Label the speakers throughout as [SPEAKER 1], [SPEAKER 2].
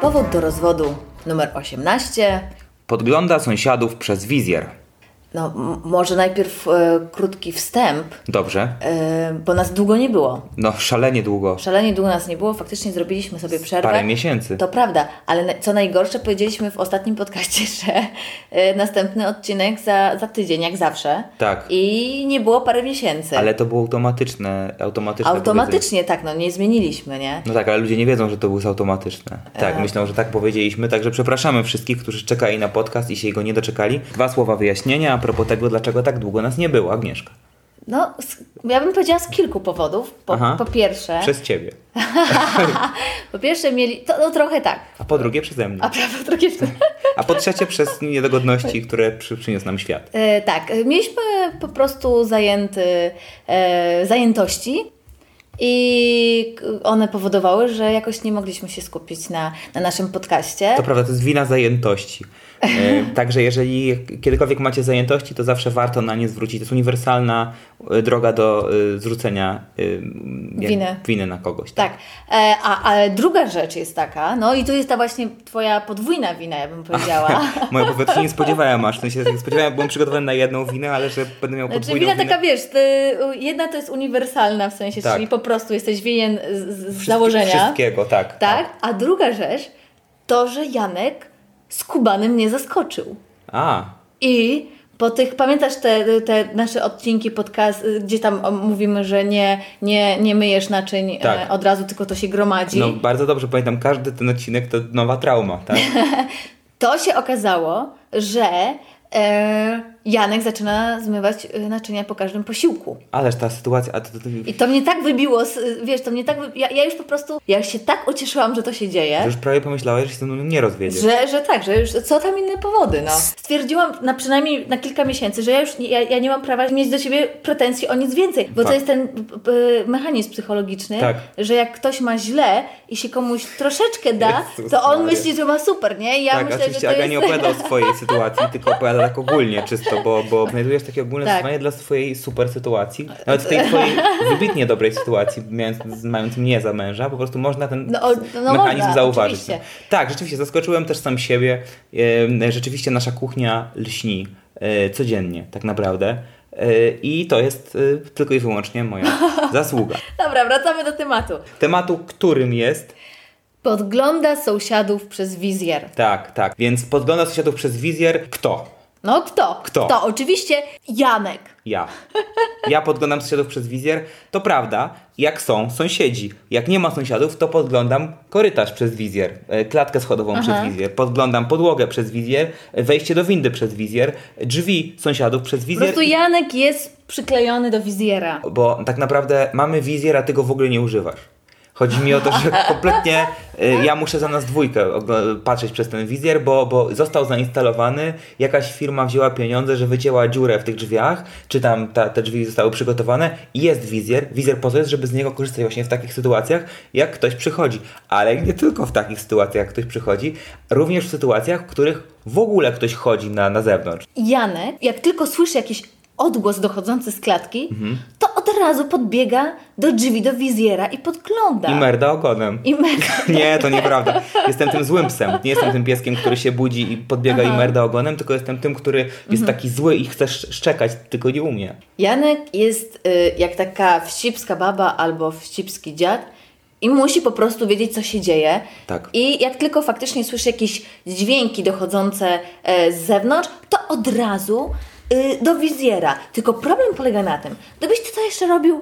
[SPEAKER 1] Powód do rozwodu numer 18.
[SPEAKER 2] Podgląda sąsiadów przez wizjer.
[SPEAKER 1] No, m- może najpierw e, krótki wstęp,
[SPEAKER 2] Dobrze.
[SPEAKER 1] e, bo nas długo nie było.
[SPEAKER 2] No, szalenie długo.
[SPEAKER 1] Szalenie długo nas nie było, faktycznie zrobiliśmy sobie przerwę.
[SPEAKER 2] Parę miesięcy.
[SPEAKER 1] To prawda, ale na- co najgorsze, powiedzieliśmy w ostatnim podcaście, że e, następny odcinek za, za tydzień, jak zawsze.
[SPEAKER 2] Tak.
[SPEAKER 1] I nie było parę miesięcy.
[SPEAKER 2] Ale to było automatyczne. automatyczne powiedzenie.
[SPEAKER 1] Automatycznie tak, no nie zmieniliśmy, nie?
[SPEAKER 2] No tak, ale ludzie nie wiedzą, że to było automatyczne.
[SPEAKER 1] E.
[SPEAKER 2] Tak, myślą, że tak powiedzieliśmy, także przepraszamy wszystkich, którzy czekali na podcast i się jego nie doczekali. Dwa słowa wyjaśnienia a propos tego, dlaczego tak długo nas nie było, Agnieszka.
[SPEAKER 1] No, z, ja bym powiedziała z kilku powodów. Po,
[SPEAKER 2] Aha.
[SPEAKER 1] po pierwsze,
[SPEAKER 2] Przez ciebie.
[SPEAKER 1] po pierwsze mieli, to no, trochę tak,
[SPEAKER 2] A po drugie przeze mnie.
[SPEAKER 1] a prawo drugie.
[SPEAKER 2] A po trzecie przez niedogodności,
[SPEAKER 1] Tak.
[SPEAKER 2] które przy- przyniósł nam świat.
[SPEAKER 1] E, tak, e, mieliśmy po prostu zajęty, e, zajętości i k- one powodowały, że jakoś nie mogliśmy się skupić na, na naszym podcaście.
[SPEAKER 2] To prawda, to jest wina zajętości. E, Także jeżeli kiedykolwiek macie zajętości, to zawsze warto na nie zwrócić. To jest uniwersalna e, droga do e, zrzucenia e, jak-
[SPEAKER 1] Winy.
[SPEAKER 2] winy na kogoś.
[SPEAKER 1] Tak, e, a, a druga rzecz jest taka, no i tu jest ta właśnie twoja podwójna wina, ja bym powiedziała.
[SPEAKER 2] Moja powietrze nie spodziewałem aż. W sensie spodziewałem, byłem przygotowany na jedną winę, ale że będę miał
[SPEAKER 1] Znaczy
[SPEAKER 2] podwójną
[SPEAKER 1] wina
[SPEAKER 2] winę.
[SPEAKER 1] taka, wiesz, ty, jedna to jest uniwersalna w sensie,
[SPEAKER 2] Tak.
[SPEAKER 1] czyli po prostu jesteś winien z, z- z
[SPEAKER 2] Wszystkie-
[SPEAKER 1] założenia.
[SPEAKER 2] Wszystkiego, tak.
[SPEAKER 1] Tak, a druga rzecz to, że Janek z Kubanem mnie zaskoczył.
[SPEAKER 2] A,
[SPEAKER 1] I po tych, pamiętasz te, te nasze odcinki podcast, y, gdzie tam o, mówimy, że nie, nie, nie myjesz naczyń e,
[SPEAKER 2] Tak.
[SPEAKER 1] od razu, tylko to się gromadzi.
[SPEAKER 2] no bardzo dobrze pamiętam. Każdy ten odcinek to nowa trauma, tak?
[SPEAKER 1] To się okazało, że e, Janek zaczyna zmywać y, naczynia po każdym posiłku.
[SPEAKER 2] Ależ ta sytuacja... A to, to, to,
[SPEAKER 1] I to mnie tak wybiło, z, y, wiesz, to mnie tak, wy- ja, ja już po prostu, ja się tak ucieszyłam, że to się dzieje.
[SPEAKER 2] już prawie pomyślałeś, że się ze mną nie rozwiedziesz.
[SPEAKER 1] Że, że tak, że już co tam inne powody, no. Stwierdziłam na przynajmniej na kilka miesięcy, że ja już nie, ja, ja nie mam prawa mieć do ciebie pretensji o nic więcej, bo
[SPEAKER 2] Tak.
[SPEAKER 1] to jest ten b- b- mechanizm psychologiczny,
[SPEAKER 2] Tak.
[SPEAKER 1] że jak ktoś ma źle i się komuś troszeczkę da,
[SPEAKER 2] Jezus
[SPEAKER 1] to on
[SPEAKER 2] Maria.
[SPEAKER 1] myśli, że ma super, nie? I Ja
[SPEAKER 2] tak,
[SPEAKER 1] myślę,
[SPEAKER 2] oczywiście
[SPEAKER 1] że to
[SPEAKER 2] Aga
[SPEAKER 1] jest...
[SPEAKER 2] nie opowiada o swojej sytuacji, tylko opowiada tak ogólnie czysto, bo, bo znajdujesz takie ogólne
[SPEAKER 1] Tak.
[SPEAKER 2] zastosowanie dla swojej super sytuacji. Nawet tej twojej wybitnie dobrej sytuacji, mając, mając mnie za męża, po prostu można ten
[SPEAKER 1] No, o- no
[SPEAKER 2] mechanizm
[SPEAKER 1] można,
[SPEAKER 2] zauważyć.
[SPEAKER 1] oczywiście.
[SPEAKER 2] Tak, rzeczywiście, zaskoczyłem też sam siebie. Em, Rzeczywiście nasza kuchnia lśni e, codziennie, tak naprawdę. E, I to jest e, tylko i wyłącznie moja zasługa.
[SPEAKER 1] Dobra, wracamy do tematu.
[SPEAKER 2] Tematu, którym jest
[SPEAKER 1] Podgląda sąsiadów przez wizjer.
[SPEAKER 2] tak, tak. Więc podgląda sąsiadów przez wizjer kto?
[SPEAKER 1] No kto?
[SPEAKER 2] Kto?
[SPEAKER 1] Kto? Oczywiście Janek.
[SPEAKER 2] Ja. Ja podglądam sąsiadów przez wizjer. To prawda, jak są sąsiedzi. Jak nie ma sąsiadów, to podglądam korytarz przez wizjer, e, klatkę schodową przez wizjer, podglądam podłogę przez wizjer, e, wejście do windy przez wizjer, e, drzwi sąsiadów przez
[SPEAKER 1] Po
[SPEAKER 2] wizjer.
[SPEAKER 1] prostu Janek jest przyklejony do wizjera.
[SPEAKER 2] Bo tak naprawdę mamy wizjer, a ty go w ogóle nie używasz. Chodzi mi o to, że kompletnie e, ja muszę za nas dwójkę ogl- patrzeć przez ten wizjer, bo, bo został zainstalowany, jakaś firma wzięła pieniądze, że wycięła dziurę w tych drzwiach, czy tam ta, te drzwi zostały przygotowane i jest wizjer. Wizjer po to jest, żeby z niego korzystać właśnie w takich sytuacjach, jak ktoś przychodzi. Ale nie tylko w takich sytuacjach, jak ktoś przychodzi, również w sytuacjach, w których w ogóle ktoś chodzi na, na zewnątrz.
[SPEAKER 1] Janek, jak tylko słyszy jakiś odgłos dochodzący z klatki, to od razu podbiega do drzwi do wizjera i podgląda.
[SPEAKER 2] I merda ogonem.
[SPEAKER 1] I mer-
[SPEAKER 2] Nie, to nieprawda. Jestem tym złym psem. Nie jestem tym pieskiem, który się budzi i podbiega i merda ogonem, tylko jestem tym, który jest taki zły i chce sz- szczekać, tylko nie umie.
[SPEAKER 1] Janek jest y, jak taka wścibska baba albo wścibski dziad i musi po prostu wiedzieć, co się dzieje.
[SPEAKER 2] Tak.
[SPEAKER 1] I jak tylko faktycznie słyszy jakieś dźwięki dochodzące e, z zewnątrz, to od razu y, do wizjera. Tylko problem polega na tym, gdybyś ty to jeszcze robił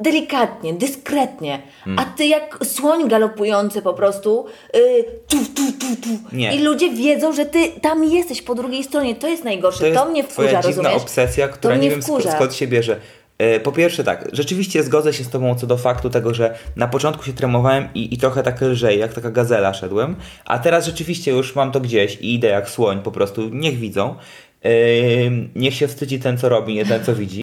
[SPEAKER 1] delikatnie, dyskretnie, a
[SPEAKER 2] Hmm.
[SPEAKER 1] ty jak słoń galopujący po prostu y, tu, tu, tu, tu.
[SPEAKER 2] Nie.
[SPEAKER 1] I ludzie wiedzą, że ty tam jesteś po drugiej stronie. To jest najgorsze. To,
[SPEAKER 2] jest
[SPEAKER 1] mnie
[SPEAKER 2] twoja
[SPEAKER 1] wkurza,
[SPEAKER 2] dziwna
[SPEAKER 1] rozumiesz?
[SPEAKER 2] obsesja, która
[SPEAKER 1] mnie
[SPEAKER 2] nie wiem sk-
[SPEAKER 1] wkurza.
[SPEAKER 2] skąd się bierze. E, Po pierwsze tak, rzeczywiście zgodzę się z Tobą co do faktu tego, że na początku się tremowałem i, i trochę tak lżej, jak taka gazela szedłem, a teraz rzeczywiście już mam to gdzieś i idę jak słoń po prostu, niech widzą. E, niech się wstydzi ten, co robi, nie ten, co widzi.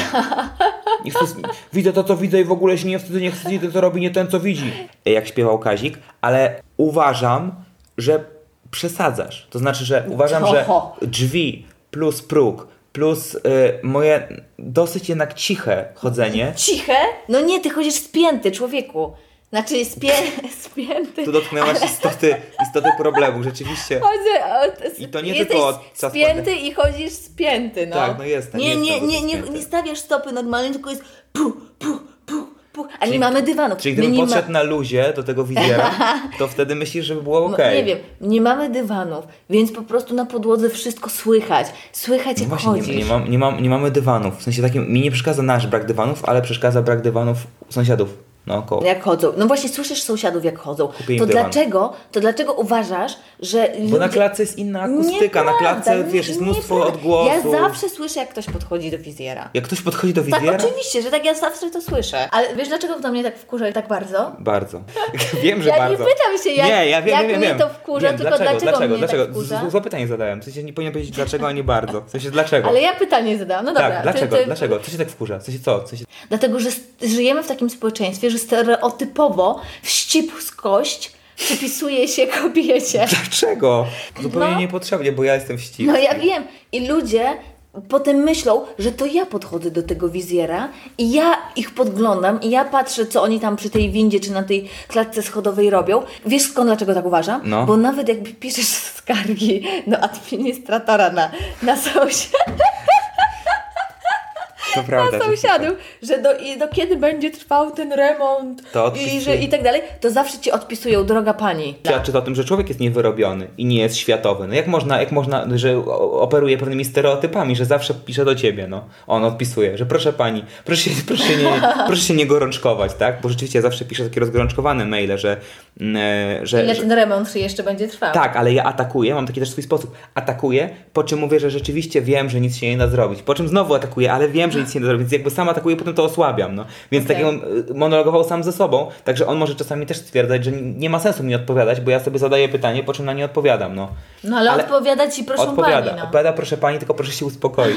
[SPEAKER 2] Niech to, widzę to, co widzę i w ogóle się nie wstydzę, niech wstydzi ten, co robi, nie ten, co widzi. E, Jak śpiewał Kazik, ale uważam, że przesadzasz. To znaczy, że uważam, że
[SPEAKER 1] Oho.
[SPEAKER 2] drzwi plus próg plus y, moje dosyć jednak ciche chodzenie.
[SPEAKER 1] Ciche? No nie, ty chodzisz spięty, człowieku. Znaczy spie... spięty.
[SPEAKER 2] Tu dotknęłaś istoty, istoty problemu, rzeczywiście.
[SPEAKER 1] Chodzę, o,
[SPEAKER 2] I to nie
[SPEAKER 1] jesteś
[SPEAKER 2] tylko od czasu
[SPEAKER 1] spięty i chodzisz spięty, no.
[SPEAKER 2] Tak, no jestem,
[SPEAKER 1] Nie,
[SPEAKER 2] jestem
[SPEAKER 1] nie, nie,
[SPEAKER 2] dosyć
[SPEAKER 1] nie,
[SPEAKER 2] spięty.
[SPEAKER 1] nie stawiasz stopy normalnie, tylko jest pu, pu, pu, pu. A
[SPEAKER 2] Czyli-
[SPEAKER 1] nie mamy dywanu.
[SPEAKER 2] Czyli
[SPEAKER 1] My
[SPEAKER 2] gdybym
[SPEAKER 1] nie ma-
[SPEAKER 2] podszedł na luzie do tego wizjera, to wtedy myślisz, żeby było
[SPEAKER 1] No,
[SPEAKER 2] okej.
[SPEAKER 1] Nie wiem, nie mamy dywanów, więc po prostu na podłodze wszystko słychać. Słychać jak
[SPEAKER 2] No Właśnie,
[SPEAKER 1] chodzisz.
[SPEAKER 2] nie, nie, mam, nie, mam, nie mamy dywanów. W sensie takim, mi nie przeszkadza nasz brak dywanów, ale przeszkadza brak dywanów sąsiadów naokoło.
[SPEAKER 1] Jak chodzą. No właśnie słyszysz sąsiadów jak chodzą.
[SPEAKER 2] Kupię im
[SPEAKER 1] to
[SPEAKER 2] dywan.
[SPEAKER 1] dlaczego? To dlaczego uważasz, że
[SPEAKER 2] Bo na klatce jest inna akustyka, na klatce, wiesz, jest mnóstwo
[SPEAKER 1] Ja
[SPEAKER 2] odgłosów.
[SPEAKER 1] zawsze słyszę, jak ktoś podchodzi do wizjera.
[SPEAKER 2] Jak ktoś podchodzi do
[SPEAKER 1] Tak,
[SPEAKER 2] wizjera?
[SPEAKER 1] oczywiście, że tak ja zawsze to słyszę. Ale wiesz, dlaczego to mnie tak wkurza tak bardzo?
[SPEAKER 2] Bardzo. Wiem, że
[SPEAKER 1] Ja nie
[SPEAKER 2] bardzo.
[SPEAKER 1] pytam się, jak-
[SPEAKER 2] nie, ja wiem,
[SPEAKER 1] jak
[SPEAKER 2] wiem,
[SPEAKER 1] mnie
[SPEAKER 2] wiem.
[SPEAKER 1] to wkurza,
[SPEAKER 2] wiem,
[SPEAKER 1] tylko
[SPEAKER 2] dlaczego,
[SPEAKER 1] dlaczego
[SPEAKER 2] dlaczego,
[SPEAKER 1] mnie tak
[SPEAKER 2] dlaczego?
[SPEAKER 1] wkurza?
[SPEAKER 2] Z- Złe pytanie zadałem. W sensie nie powinien powiedzieć dlaczego, a nie bardzo. W sensie dlaczego.
[SPEAKER 1] Ale ja pytanie zadałam. No dobra.
[SPEAKER 2] tak,
[SPEAKER 1] ty-
[SPEAKER 2] dlaczego,
[SPEAKER 1] ty-
[SPEAKER 2] dlaczego? Co się tak wkurza? W sensie co? W sensie...
[SPEAKER 1] Dlatego, że s- żyjemy w takim społeczeństwie, że stereotypowo wścibskość przypisuje się kobiecie.
[SPEAKER 2] Dlaczego? Zupełnie
[SPEAKER 1] No.
[SPEAKER 2] niepotrzebnie, bo ja jestem wściekły.
[SPEAKER 1] No ja wiem. I ludzie potem myślą, że to ja podchodzę do tego wizjera i ja ich podglądam i ja patrzę, co oni tam przy tej windzie czy na tej klatce schodowej robią. Wiesz skąd, dlaczego tak uważam?
[SPEAKER 2] No.
[SPEAKER 1] Bo nawet jak piszesz skargi do administratora na, na sąsiad,
[SPEAKER 2] To prawda.
[SPEAKER 1] na
[SPEAKER 2] tak.
[SPEAKER 1] sąsiadów, że do, i do kiedy będzie trwał ten remont
[SPEAKER 2] To
[SPEAKER 1] i,
[SPEAKER 2] odpisuję.
[SPEAKER 1] że, i tak dalej, to zawsze ci odpisują, droga pani.
[SPEAKER 2] Świadczy to o tym, że człowiek jest niewyrobiony i nie jest światowy. No jak można, jak można, że o- operuje pewnymi stereotypami, że zawsze pisze do ciebie, no. On odpisuje, że proszę pani, proszę się, proszę się, nie, proszę się nie gorączkować, tak? Bo rzeczywiście ja zawsze piszę takie rozgorączkowane maile, że... mm, e, że
[SPEAKER 1] Ile
[SPEAKER 2] że-
[SPEAKER 1] ten remont jeszcze będzie trwał?
[SPEAKER 2] tak, ale ja atakuję, mam taki też swój sposób. Atakuję, po czym mówię, że rzeczywiście wiem, że nic się nie da zrobić. Po czym znowu atakuję, ale wiem, że nic się nie da zrobić, więc jakby sam atakuję, potem to osłabiam. No. Więc
[SPEAKER 1] Okej.
[SPEAKER 2] tak jakbym y, monologował sam ze sobą, także on może czasami też stwierdzać, że nie ma sensu mi odpowiadać, bo ja sobie zadaję pytanie, po czym na nie odpowiadam. No,
[SPEAKER 1] No ale,
[SPEAKER 2] Ale-
[SPEAKER 1] odpowiada ci, proszę
[SPEAKER 2] odpowiada,
[SPEAKER 1] pani. No.
[SPEAKER 2] odpowiada, proszę pani, tylko proszę się uspokoić.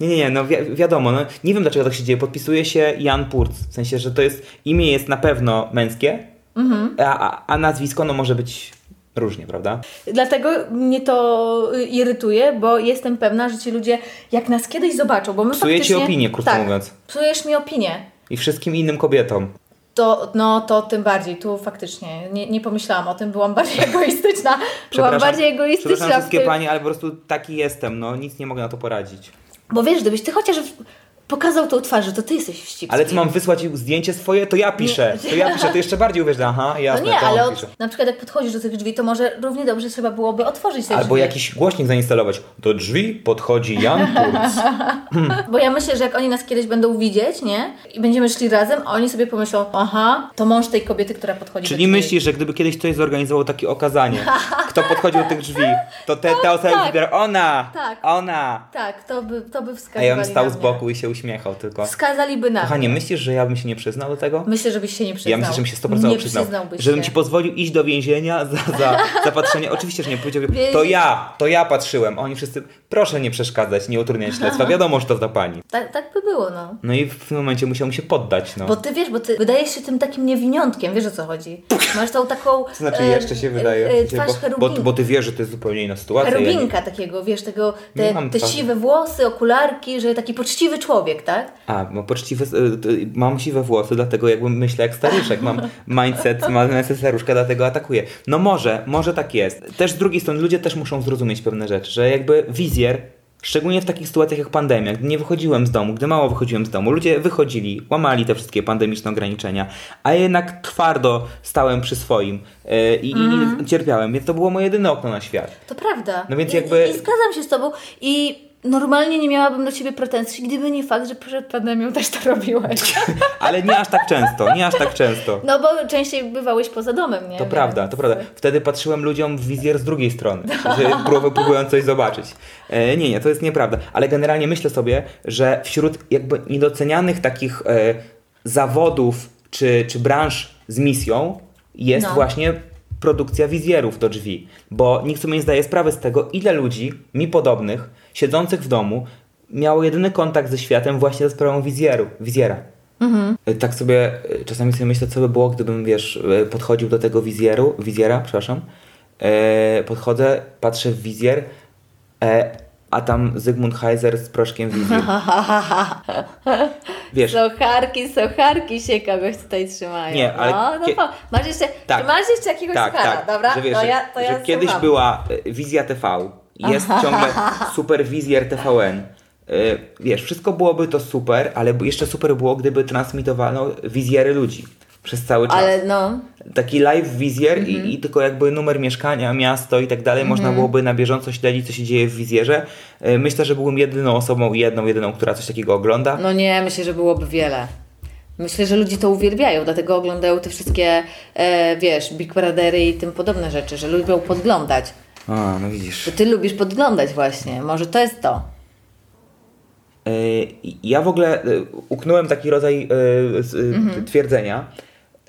[SPEAKER 2] nie, nie, nie, no wi- wiadomo, no, nie wiem dlaczego tak się dzieje. Podpisuje się Jan Purc, w sensie, że to jest, imię jest na pewno męskie,
[SPEAKER 1] Mhm.
[SPEAKER 2] a, a, a nazwisko no może być różnie, prawda?
[SPEAKER 1] Dlatego mnie to y, irytuje, bo jestem pewna, że ci ludzie jak nas kiedyś zobaczą, bo my
[SPEAKER 2] Psuje ci
[SPEAKER 1] faktycznie...
[SPEAKER 2] opinię, krótko
[SPEAKER 1] tak,
[SPEAKER 2] mówiąc.
[SPEAKER 1] psujesz mi opinię.
[SPEAKER 2] I wszystkim innym kobietom.
[SPEAKER 1] To, no to tym bardziej, tu faktycznie nie, nie pomyślałam o tym, byłam bardziej egoistyczna. Byłam
[SPEAKER 2] Przepraszam,
[SPEAKER 1] bardziej egoistyczna.
[SPEAKER 2] przepraszam wszystkie
[SPEAKER 1] w tym.
[SPEAKER 2] panie, ale po prostu taki jestem, no nic nie mogę na to poradzić.
[SPEAKER 1] Bo wiesz, gdybyś ty chociaż w- pokazał tą twarz, że to ty jesteś wścibski.
[SPEAKER 2] Ale co mam wysłać zdjęcie swoje? To ja piszę.
[SPEAKER 1] Nie.
[SPEAKER 2] To ja piszę, to jeszcze bardziej uwierzę. Aha,
[SPEAKER 1] No
[SPEAKER 2] jasne,
[SPEAKER 1] nie,
[SPEAKER 2] to on
[SPEAKER 1] ale
[SPEAKER 2] pisze.
[SPEAKER 1] od, na przykład jak podchodzisz do tych drzwi, to może równie dobrze trzeba byłoby otworzyć te
[SPEAKER 2] Albo
[SPEAKER 1] drzwi.
[SPEAKER 2] jakiś głośnik zainstalować. Do drzwi podchodzi Jan Turc.
[SPEAKER 1] Bo ja myślę, że jak oni nas kiedyś będą widzieć, nie? I będziemy szli razem, a oni sobie pomyślą, aha, to mąż tej kobiety, która podchodzi do
[SPEAKER 2] Czyli
[SPEAKER 1] drzwi.
[SPEAKER 2] myślisz, że gdyby kiedyś ktoś zorganizował takie okazanie, kto podchodził do tych drzwi, to te, te osoby
[SPEAKER 1] tak.
[SPEAKER 2] wybiorą ona,
[SPEAKER 1] Tak.
[SPEAKER 2] ona.
[SPEAKER 1] Tak, to by, to by
[SPEAKER 2] A
[SPEAKER 1] wskazywali
[SPEAKER 2] ja bym
[SPEAKER 1] na
[SPEAKER 2] stał z
[SPEAKER 1] mnie.
[SPEAKER 2] boku i się uśmiechał tylko.
[SPEAKER 1] Wskazaliby na mnie.
[SPEAKER 2] Kochanie, myślisz, że ja bym się nie przyznał do tego?
[SPEAKER 1] Myślę, żebyś się nie przyznał.
[SPEAKER 2] Ja myślę, że mi się 100%
[SPEAKER 1] Nie
[SPEAKER 2] przyznał.
[SPEAKER 1] przyznałbyś
[SPEAKER 2] Żebym
[SPEAKER 1] się.
[SPEAKER 2] ci pozwolił iść do więzienia za, za zapatrzenie. Oczywiście, że nie powiedział,
[SPEAKER 1] Więzień-
[SPEAKER 2] to ja, to ja patrzyłem. A Oni wszyscy, proszę nie przeszkadzać, nie utrudniać śledztwa. Wiadomo, że to ta pani.
[SPEAKER 1] tak, tak by było, no.
[SPEAKER 2] No i w tym momencie musiał mu się poddać, no.
[SPEAKER 1] Bo ty wiesz, bo ty wydajesz się tym takim niewiniątkiem, wiesz o co chodzi. Masz tą taką...
[SPEAKER 2] To znaczy
[SPEAKER 1] e,
[SPEAKER 2] jeszcze się wydaje.
[SPEAKER 1] E, e, twarz
[SPEAKER 2] bo,
[SPEAKER 1] cherubinka.
[SPEAKER 2] bo, bo ty wiesz, że to jest zupełnie inna sytuacja. Ja nie-
[SPEAKER 1] Cherubinka takiego, wiesz, tego,
[SPEAKER 2] Nie
[SPEAKER 1] te,
[SPEAKER 2] mam
[SPEAKER 1] te
[SPEAKER 2] twarzy.
[SPEAKER 1] siwe włosy, okularki, że taki poczciwy człowiek, tak?
[SPEAKER 2] A, mam poczciwe, y, y, mam siwe włosy, dlatego jakby myślę jak staruszek, mam mindset, mam mindset staruszka, dlatego atakuję. No może, może tak jest. Też z drugiej strony ludzie też muszą zrozumieć pewne rzeczy, że jakby wizjer, szczególnie w takich sytuacjach jak pandemia, gdy nie wychodziłem z domu, gdy mało wychodziłem z domu, ludzie wychodzili, łamali te wszystkie pandemiczne ograniczenia, a jednak twardo stałem przy swoim y, i, i cierpiałem, więc to było moje jedyne okno na świat.
[SPEAKER 1] To prawda.
[SPEAKER 2] No więc
[SPEAKER 1] I,
[SPEAKER 2] jakby-
[SPEAKER 1] I zgadzam się z Tobą i Normalnie nie miałabym do ciebie pretensji, gdyby nie fakt, że przed pandemią też to robiłeś.
[SPEAKER 2] Ale nie aż tak często, nie aż tak często.
[SPEAKER 1] No bo częściej bywałeś poza domem, nie?
[SPEAKER 2] To prawda, to prawda. Wtedy patrzyłem ludziom w wizjer z drugiej strony, że próbują, próbują coś zobaczyć. E, nie, nie, to jest nieprawda. Ale generalnie myślę sobie, że wśród jakby niedocenianych takich e, zawodów czy, czy branż z misją jest
[SPEAKER 1] No.
[SPEAKER 2] właśnie produkcja wizjerów do drzwi. Bo nikt sobie nie zdaje sprawy z tego, ile ludzi mi podobnych, siedzących w domu, miało jedyny kontakt ze światem właśnie za sprawą wizjeru, wizjera. Tak sobie y, czasami sobie myślę, co by było, gdybym, wiesz, y, podchodził do tego wizjeru, wizjera, przepraszam. E, podchodzę, patrzę w wizjer, e, a tam Zygmunt Heiser z proszkiem wizji. Wiesz,
[SPEAKER 1] Socharki, socharki się kogoś tutaj trzymają.
[SPEAKER 2] Nie, ale
[SPEAKER 1] No, no
[SPEAKER 2] kie-
[SPEAKER 1] po, masz jeszcze,
[SPEAKER 2] Tak.
[SPEAKER 1] czy masz jeszcze jakiegoś
[SPEAKER 2] tak,
[SPEAKER 1] suchara,
[SPEAKER 2] tak,
[SPEAKER 1] dobra?
[SPEAKER 2] że wiesz,
[SPEAKER 1] to
[SPEAKER 2] że,
[SPEAKER 1] ja, to
[SPEAKER 2] że
[SPEAKER 1] ja
[SPEAKER 2] kiedyś
[SPEAKER 1] słucham.
[SPEAKER 2] była y, wizja TV, jest ciągle superwizjer TVN. Y, Wiesz, wszystko byłoby to super, ale jeszcze super było, gdyby transmitowano wizjery ludzi przez cały czas.
[SPEAKER 1] Ale no,
[SPEAKER 2] taki live wizjer
[SPEAKER 1] Mhm.
[SPEAKER 2] i, i tylko jakby numer mieszkania, miasto i tak dalej, można byłoby na bieżąco śledzić, co się dzieje w wizjerze. E, Myślę, że byłem jedyną osobą, jedną, jedyną, która coś takiego ogląda.
[SPEAKER 1] no nie, myślę, że byłoby wiele. Myślę, że ludzie to uwielbiają, dlatego oglądają te wszystkie, e, wiesz, Big Brothery i tym podobne rzeczy, że lubią podglądać.
[SPEAKER 2] A, no widzisz.
[SPEAKER 1] Bo ty lubisz podglądać właśnie, może to jest to.
[SPEAKER 2] E, Ja w ogóle e, uknąłem taki rodzaj e, z- e,
[SPEAKER 1] Mhm.
[SPEAKER 2] twierdzenia,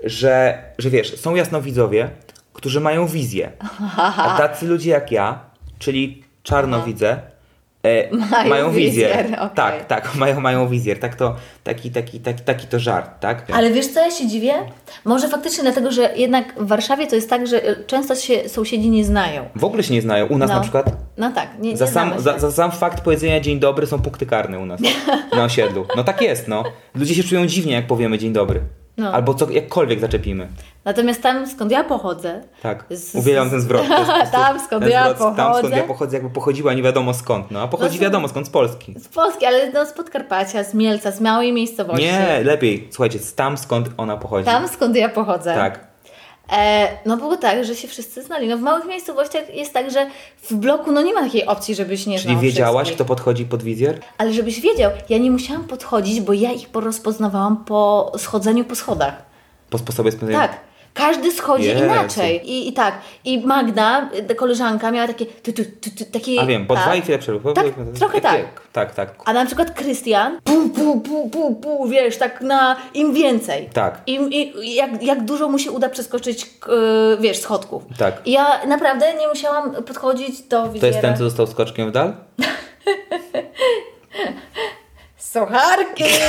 [SPEAKER 2] że, że wiesz, są jasnowidzowie, którzy mają wizję, a tacy ludzie jak ja, czyli czarnowidze, e,
[SPEAKER 1] Mają
[SPEAKER 2] mają, wizję.
[SPEAKER 1] wizjer, okej.
[SPEAKER 2] Tak, tak, mają, mają wizję. Tak to, taki, taki, taki, taki to żart, tak?
[SPEAKER 1] Ale wiesz co, ja się dziwię? Może faktycznie dlatego, że jednak w Warszawie to jest tak, że e, często się sąsiedzi nie znają.
[SPEAKER 2] W ogóle się nie znają. U nas
[SPEAKER 1] No.
[SPEAKER 2] na przykład
[SPEAKER 1] No tak, nie, nie
[SPEAKER 2] za sam,
[SPEAKER 1] znamy się.
[SPEAKER 2] za, za sam fakt powiedzenia dzień dobry są punkty karne u nas na osiedlu. No tak jest, no. Ludzie się czują dziwnie, jak powiemy dzień dobry.
[SPEAKER 1] No.
[SPEAKER 2] Albo co, jakkolwiek zaczepimy.
[SPEAKER 1] Natomiast tam, skąd ja pochodzę,
[SPEAKER 2] Tak.
[SPEAKER 1] Z- z-
[SPEAKER 2] Uwielbiam ten zwrot. To jest po prostu-
[SPEAKER 1] Tam, skąd
[SPEAKER 2] ten
[SPEAKER 1] ja
[SPEAKER 2] Tam skąd
[SPEAKER 1] pochodzę.
[SPEAKER 2] ja pochodzę, jakby pochodziła nie wiadomo skąd. No a pochodzi
[SPEAKER 1] No,
[SPEAKER 2] wiadomo skąd z Polski.
[SPEAKER 1] z Polski, ale no, z Podkarpacia, z Mielca, z małej miejscowości.
[SPEAKER 2] Nie, lepiej. Słuchajcie, tam skąd ona pochodzi.
[SPEAKER 1] Tam, skąd ja pochodzę.
[SPEAKER 2] Tak.
[SPEAKER 1] E, no było tak, że się wszyscy znali. No w małych miejscowościach jest tak, że w bloku no nie ma takiej opcji, żebyś nie
[SPEAKER 2] Czyli
[SPEAKER 1] znał
[SPEAKER 2] wiedziałaś,
[SPEAKER 1] No, wszystkich.
[SPEAKER 2] kto podchodzi pod wizjer?
[SPEAKER 1] Ale żebyś wiedział, ja nie musiałam podchodzić, bo ja ich porozpoznawałam po schodzeniu po schodach.
[SPEAKER 2] Po sposobie spędzenia.
[SPEAKER 1] Tak. Każdy schodzi
[SPEAKER 2] Jezu.
[SPEAKER 1] inaczej. I, I tak. I Magda, y, koleżanka, miała takie. Tu, tu, tu, tu, takie
[SPEAKER 2] A wiem, po
[SPEAKER 1] tak.
[SPEAKER 2] dwa i chwilę przerwy.
[SPEAKER 1] Tak, trochę tak.
[SPEAKER 2] Tak, tak.
[SPEAKER 1] A na przykład Krystian, pu, pu, pu, pu, pu, wiesz, tak na im więcej.
[SPEAKER 2] Tak.
[SPEAKER 1] Im, i, jak, jak dużo mu się uda przeskoczyć, k- y, wiesz, schodków.
[SPEAKER 2] Tak.
[SPEAKER 1] I Ja naprawdę nie musiałam podchodzić do
[SPEAKER 2] To jest
[SPEAKER 1] widziera.
[SPEAKER 2] ten, co został skoczkiem w dal?
[SPEAKER 1] Sucharki!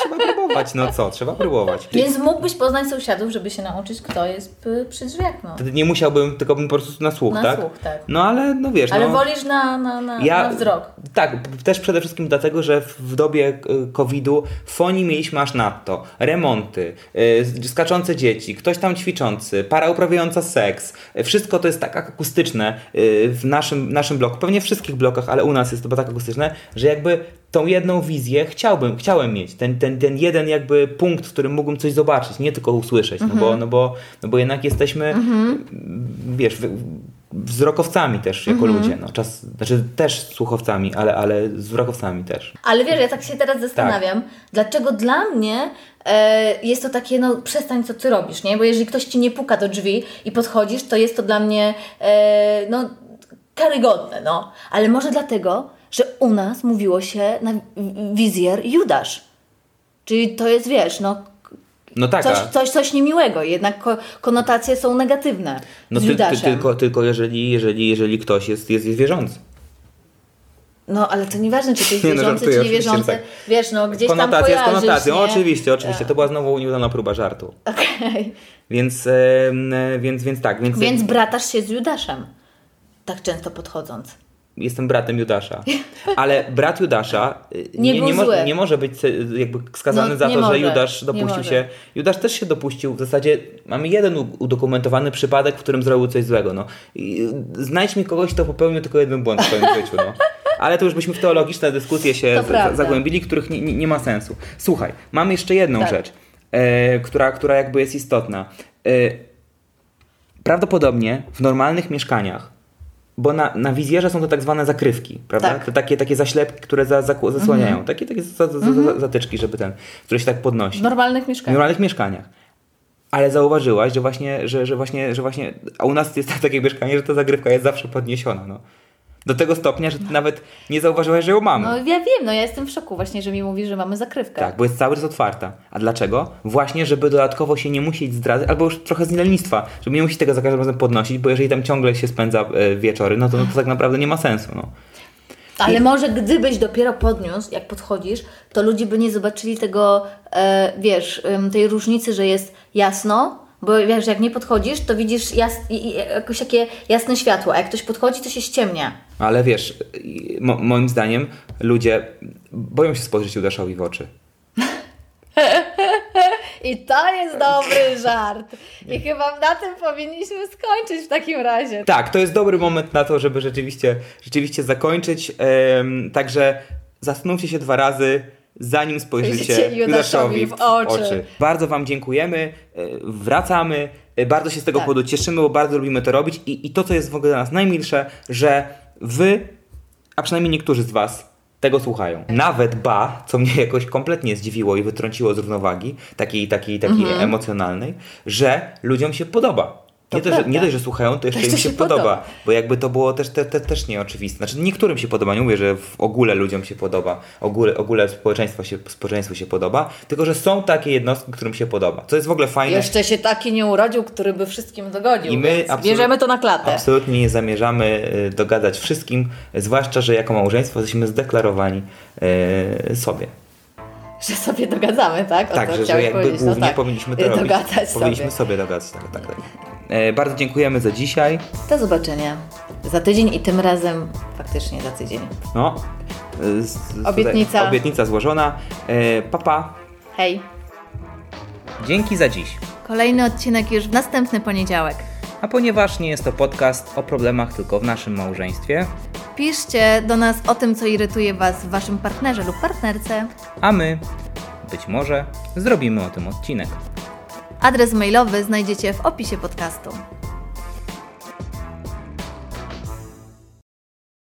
[SPEAKER 2] Trzeba próbować, no co, trzeba próbować.
[SPEAKER 1] Więc mógłbyś poznać sąsiadów, żeby się nauczyć, kto jest y, przy drzwiach, no.
[SPEAKER 2] Wtedy nie musiałbym, tylko bym po prostu na słuch,
[SPEAKER 1] Na
[SPEAKER 2] tak?
[SPEAKER 1] słuch, tak.
[SPEAKER 2] No ale, no wiesz,
[SPEAKER 1] Ale
[SPEAKER 2] no,
[SPEAKER 1] wolisz na, na, na, na wzrok.
[SPEAKER 2] Tak, p- też przede wszystkim dlatego, że w w dobie y, COVID-u foni mieliśmy aż nadto. Remonty, y, z- skaczące dzieci, ktoś tam ćwiczący, para uprawiająca seks. Y, Wszystko to jest tak akustyczne y, w naszym, naszym bloku, pewnie w wszystkich blokach, ale u nas jest to tak akustyczne, że jakby tą jedną wizję chciałbym, chciałem mieć. Ten, ten, ten jeden jakby punkt, w którym mógłbym coś zobaczyć, nie tylko usłyszeć, no,
[SPEAKER 1] Mhm.
[SPEAKER 2] bo, no, bo, no bo jednak jesteśmy, wiesz, wy- wzrokowcami też jako
[SPEAKER 1] Mhm.
[SPEAKER 2] ludzie. No, czas, znaczy też słuchowcami, ale, ale z wzrokowcami też.
[SPEAKER 1] Ale wiesz, ja tak się teraz zastanawiam,
[SPEAKER 2] Tak.
[SPEAKER 1] dlaczego dla mnie e, jest to takie, no przestań, co ty robisz, nie? Bo jeżeli ktoś ci nie puka do drzwi i podchodzisz, to jest to dla mnie, e, no, karygodne, no. Ale może dlatego, że u nas mówiło się na w- wizjer Judasz. Czyli to jest, wiesz, no,
[SPEAKER 2] No tak,
[SPEAKER 1] coś,
[SPEAKER 2] a-
[SPEAKER 1] coś, coś niemiłego, jednak ko- konotacje są negatywne
[SPEAKER 2] no
[SPEAKER 1] z
[SPEAKER 2] ty, ty,
[SPEAKER 1] Judaszem.
[SPEAKER 2] tylko, tylko jeżeli, jeżeli, jeżeli ktoś jest, jest, jest wierzący.
[SPEAKER 1] No, ale to nieważne, czy ty jest
[SPEAKER 2] Nie, no,
[SPEAKER 1] wierzący,
[SPEAKER 2] żartuję,
[SPEAKER 1] czy
[SPEAKER 2] oczywiście, że
[SPEAKER 1] niewierzący.
[SPEAKER 2] tak.
[SPEAKER 1] Wiesz, no, gdzieś tam
[SPEAKER 2] Konotacja z
[SPEAKER 1] kojarzysz,
[SPEAKER 2] konotacją,
[SPEAKER 1] nie?
[SPEAKER 2] oczywiście, oczywiście. To była znowu nieudana próba żartu.
[SPEAKER 1] Okej.
[SPEAKER 2] Więc, em, e, więc, więc tak, więc,
[SPEAKER 1] Więc bratasz się z Judaszem. Tak często podchodząc.
[SPEAKER 2] jestem bratem Judasza. Ale brat Judasza y,
[SPEAKER 1] Nie
[SPEAKER 2] nie,
[SPEAKER 1] był
[SPEAKER 2] nie, mo-
[SPEAKER 1] zły.
[SPEAKER 2] nie może być y, jakby skazany
[SPEAKER 1] No,
[SPEAKER 2] za
[SPEAKER 1] nie
[SPEAKER 2] to,
[SPEAKER 1] może,
[SPEAKER 2] że Judasz
[SPEAKER 1] nie
[SPEAKER 2] dopuścił
[SPEAKER 1] może.
[SPEAKER 2] się. Judasz też się dopuścił. W zasadzie mamy jeden u- udokumentowany przypadek, w którym zrobił coś złego. No. I, y, Znajdź mi kogoś, kto popełnił tylko jeden błąd w swoim życiu. No. Ale to już byśmy w teologiczne dyskusje się
[SPEAKER 1] To
[SPEAKER 2] z-
[SPEAKER 1] prawda.
[SPEAKER 2] za- zagłębili, których nie, nie, nie ma sensu. Słuchaj, mam jeszcze jedną
[SPEAKER 1] Tak.
[SPEAKER 2] rzecz, e, która, która jakby jest istotna. E, Prawdopodobnie w normalnych mieszkaniach Bo na, na wizjerze są to tak zwane zakrywki, prawda?
[SPEAKER 1] Tak.
[SPEAKER 2] To takie, takie zaślepki, które za, za, zasłaniają. Takie, takie za, za, za, za, zatyczki, żeby ten, które się tak podnosi.
[SPEAKER 3] W normalnych
[SPEAKER 2] W
[SPEAKER 3] mieszkaniach.
[SPEAKER 2] normalnych mieszkaniach. Ale zauważyłaś, że właśnie, że, że właśnie, że właśnie, a u nas jest takie mieszkanie, że ta zagrywka jest zawsze podniesiona, no. Do tego stopnia, że ty nawet nie zauważyłaś, że ją mamy.
[SPEAKER 3] No ja wiem, no ja jestem w szoku właśnie, że mi mówi, że mamy zakrywkę.
[SPEAKER 2] Tak, bo jest cały czas otwarta. A dlaczego? Właśnie, żeby dodatkowo się nie musieć zdradzać, albo już trochę z lenistwa, żeby nie musieć tego za każdym razem podnosić, bo jeżeli tam ciągle się spędza e, wieczory, no to, no to tak naprawdę nie ma sensu, no.
[SPEAKER 1] Ale może gdybyś dopiero podniósł, jak podchodzisz, to ludzie by nie zobaczyli tego, e, wiesz, em, tej różnicy, że jest jasno, bo wiesz, jak nie podchodzisz, to widzisz jas i, i, jakoś takie jasne światło, a jak ktoś podchodzi, to się ściemnia.
[SPEAKER 2] Ale wiesz, i- mo moim zdaniem ludzie boją się spojrzeć Judaszowi w oczy.
[SPEAKER 3] I to jest dobry żart. I chyba na tym powinniśmy skończyć w takim
[SPEAKER 1] Yy,
[SPEAKER 3] razie.
[SPEAKER 2] Tak, to jest dobry moment na to, żeby rzeczywiście, rzeczywiście zakończyć. Em, także zastanówcie się dwa razy, zanim spojrzycie
[SPEAKER 3] Spojrzycie
[SPEAKER 2] Judaszowi w oczy.
[SPEAKER 3] oczy.
[SPEAKER 2] Bardzo Wam dziękujemy, e, wracamy, e, bardzo się z tego
[SPEAKER 3] Tak.
[SPEAKER 2] powodu cieszymy, bo bardzo lubimy to robić I, i to, co jest w ogóle dla nas najmilsze, że Wy, a przynajmniej niektórzy z Was, tego słuchają. Nawet ba, co mnie jakoś kompletnie zdziwiło i wytrąciło z równowagi, takiej, takiej, takiej emocjonalnej, że ludziom się podoba. Nie to, że, nie dość, że słuchają, to jeszcze im się, podoba. Bo jakby to było też, te, te, też nieoczywiste. Znaczy niektórym się podoba, nie mówię, że w ogóle ludziom się podoba, ogóle, ogóle społeczeństwo się, społeczeństwu się podoba, tylko że są takie jednostki, którym się podoba. Co jest w ogóle fajne.
[SPEAKER 3] Jeszcze się taki nie urodził, który by wszystkim dogodził.
[SPEAKER 2] I my
[SPEAKER 3] więc
[SPEAKER 2] absolut-
[SPEAKER 3] bierzemy to na klatę.
[SPEAKER 2] Absolutnie nie zamierzamy y, dogadać wszystkim, zwłaszcza, że jako małżeństwo jesteśmy zdeklarowani y, sobie.
[SPEAKER 3] Że sobie dogadzamy, tak? O
[SPEAKER 2] Tak,
[SPEAKER 3] to
[SPEAKER 2] że, że
[SPEAKER 3] chciałeś
[SPEAKER 2] jakby
[SPEAKER 3] powiedzieć.
[SPEAKER 2] głównie
[SPEAKER 3] no tak.
[SPEAKER 2] powinniśmy to
[SPEAKER 3] Y,
[SPEAKER 2] robić.
[SPEAKER 3] Dogadać
[SPEAKER 2] powinniśmy
[SPEAKER 3] sobie.
[SPEAKER 2] sobie dogadać. Tak, tak, tak. E, bardzo dziękujemy za dzisiaj.
[SPEAKER 3] Do zobaczenia. Za tydzień i tym razem faktycznie za tydzień.
[SPEAKER 2] No, e, z- z-
[SPEAKER 3] Obietnica.
[SPEAKER 2] tutaj Obietnica złożona. E, pa, pa.
[SPEAKER 3] Hej.
[SPEAKER 2] Dzięki za dziś.
[SPEAKER 4] Kolejny odcinek już w następny poniedziałek.
[SPEAKER 2] A ponieważ nie jest to podcast o problemach tylko w naszym małżeństwie,
[SPEAKER 4] Piszcie do nas o tym, co irytuje Was w Waszym partnerze lub partnerce.
[SPEAKER 2] a my być może zrobimy o tym odcinek.
[SPEAKER 4] Adres mailowy znajdziecie w opisie podcastu.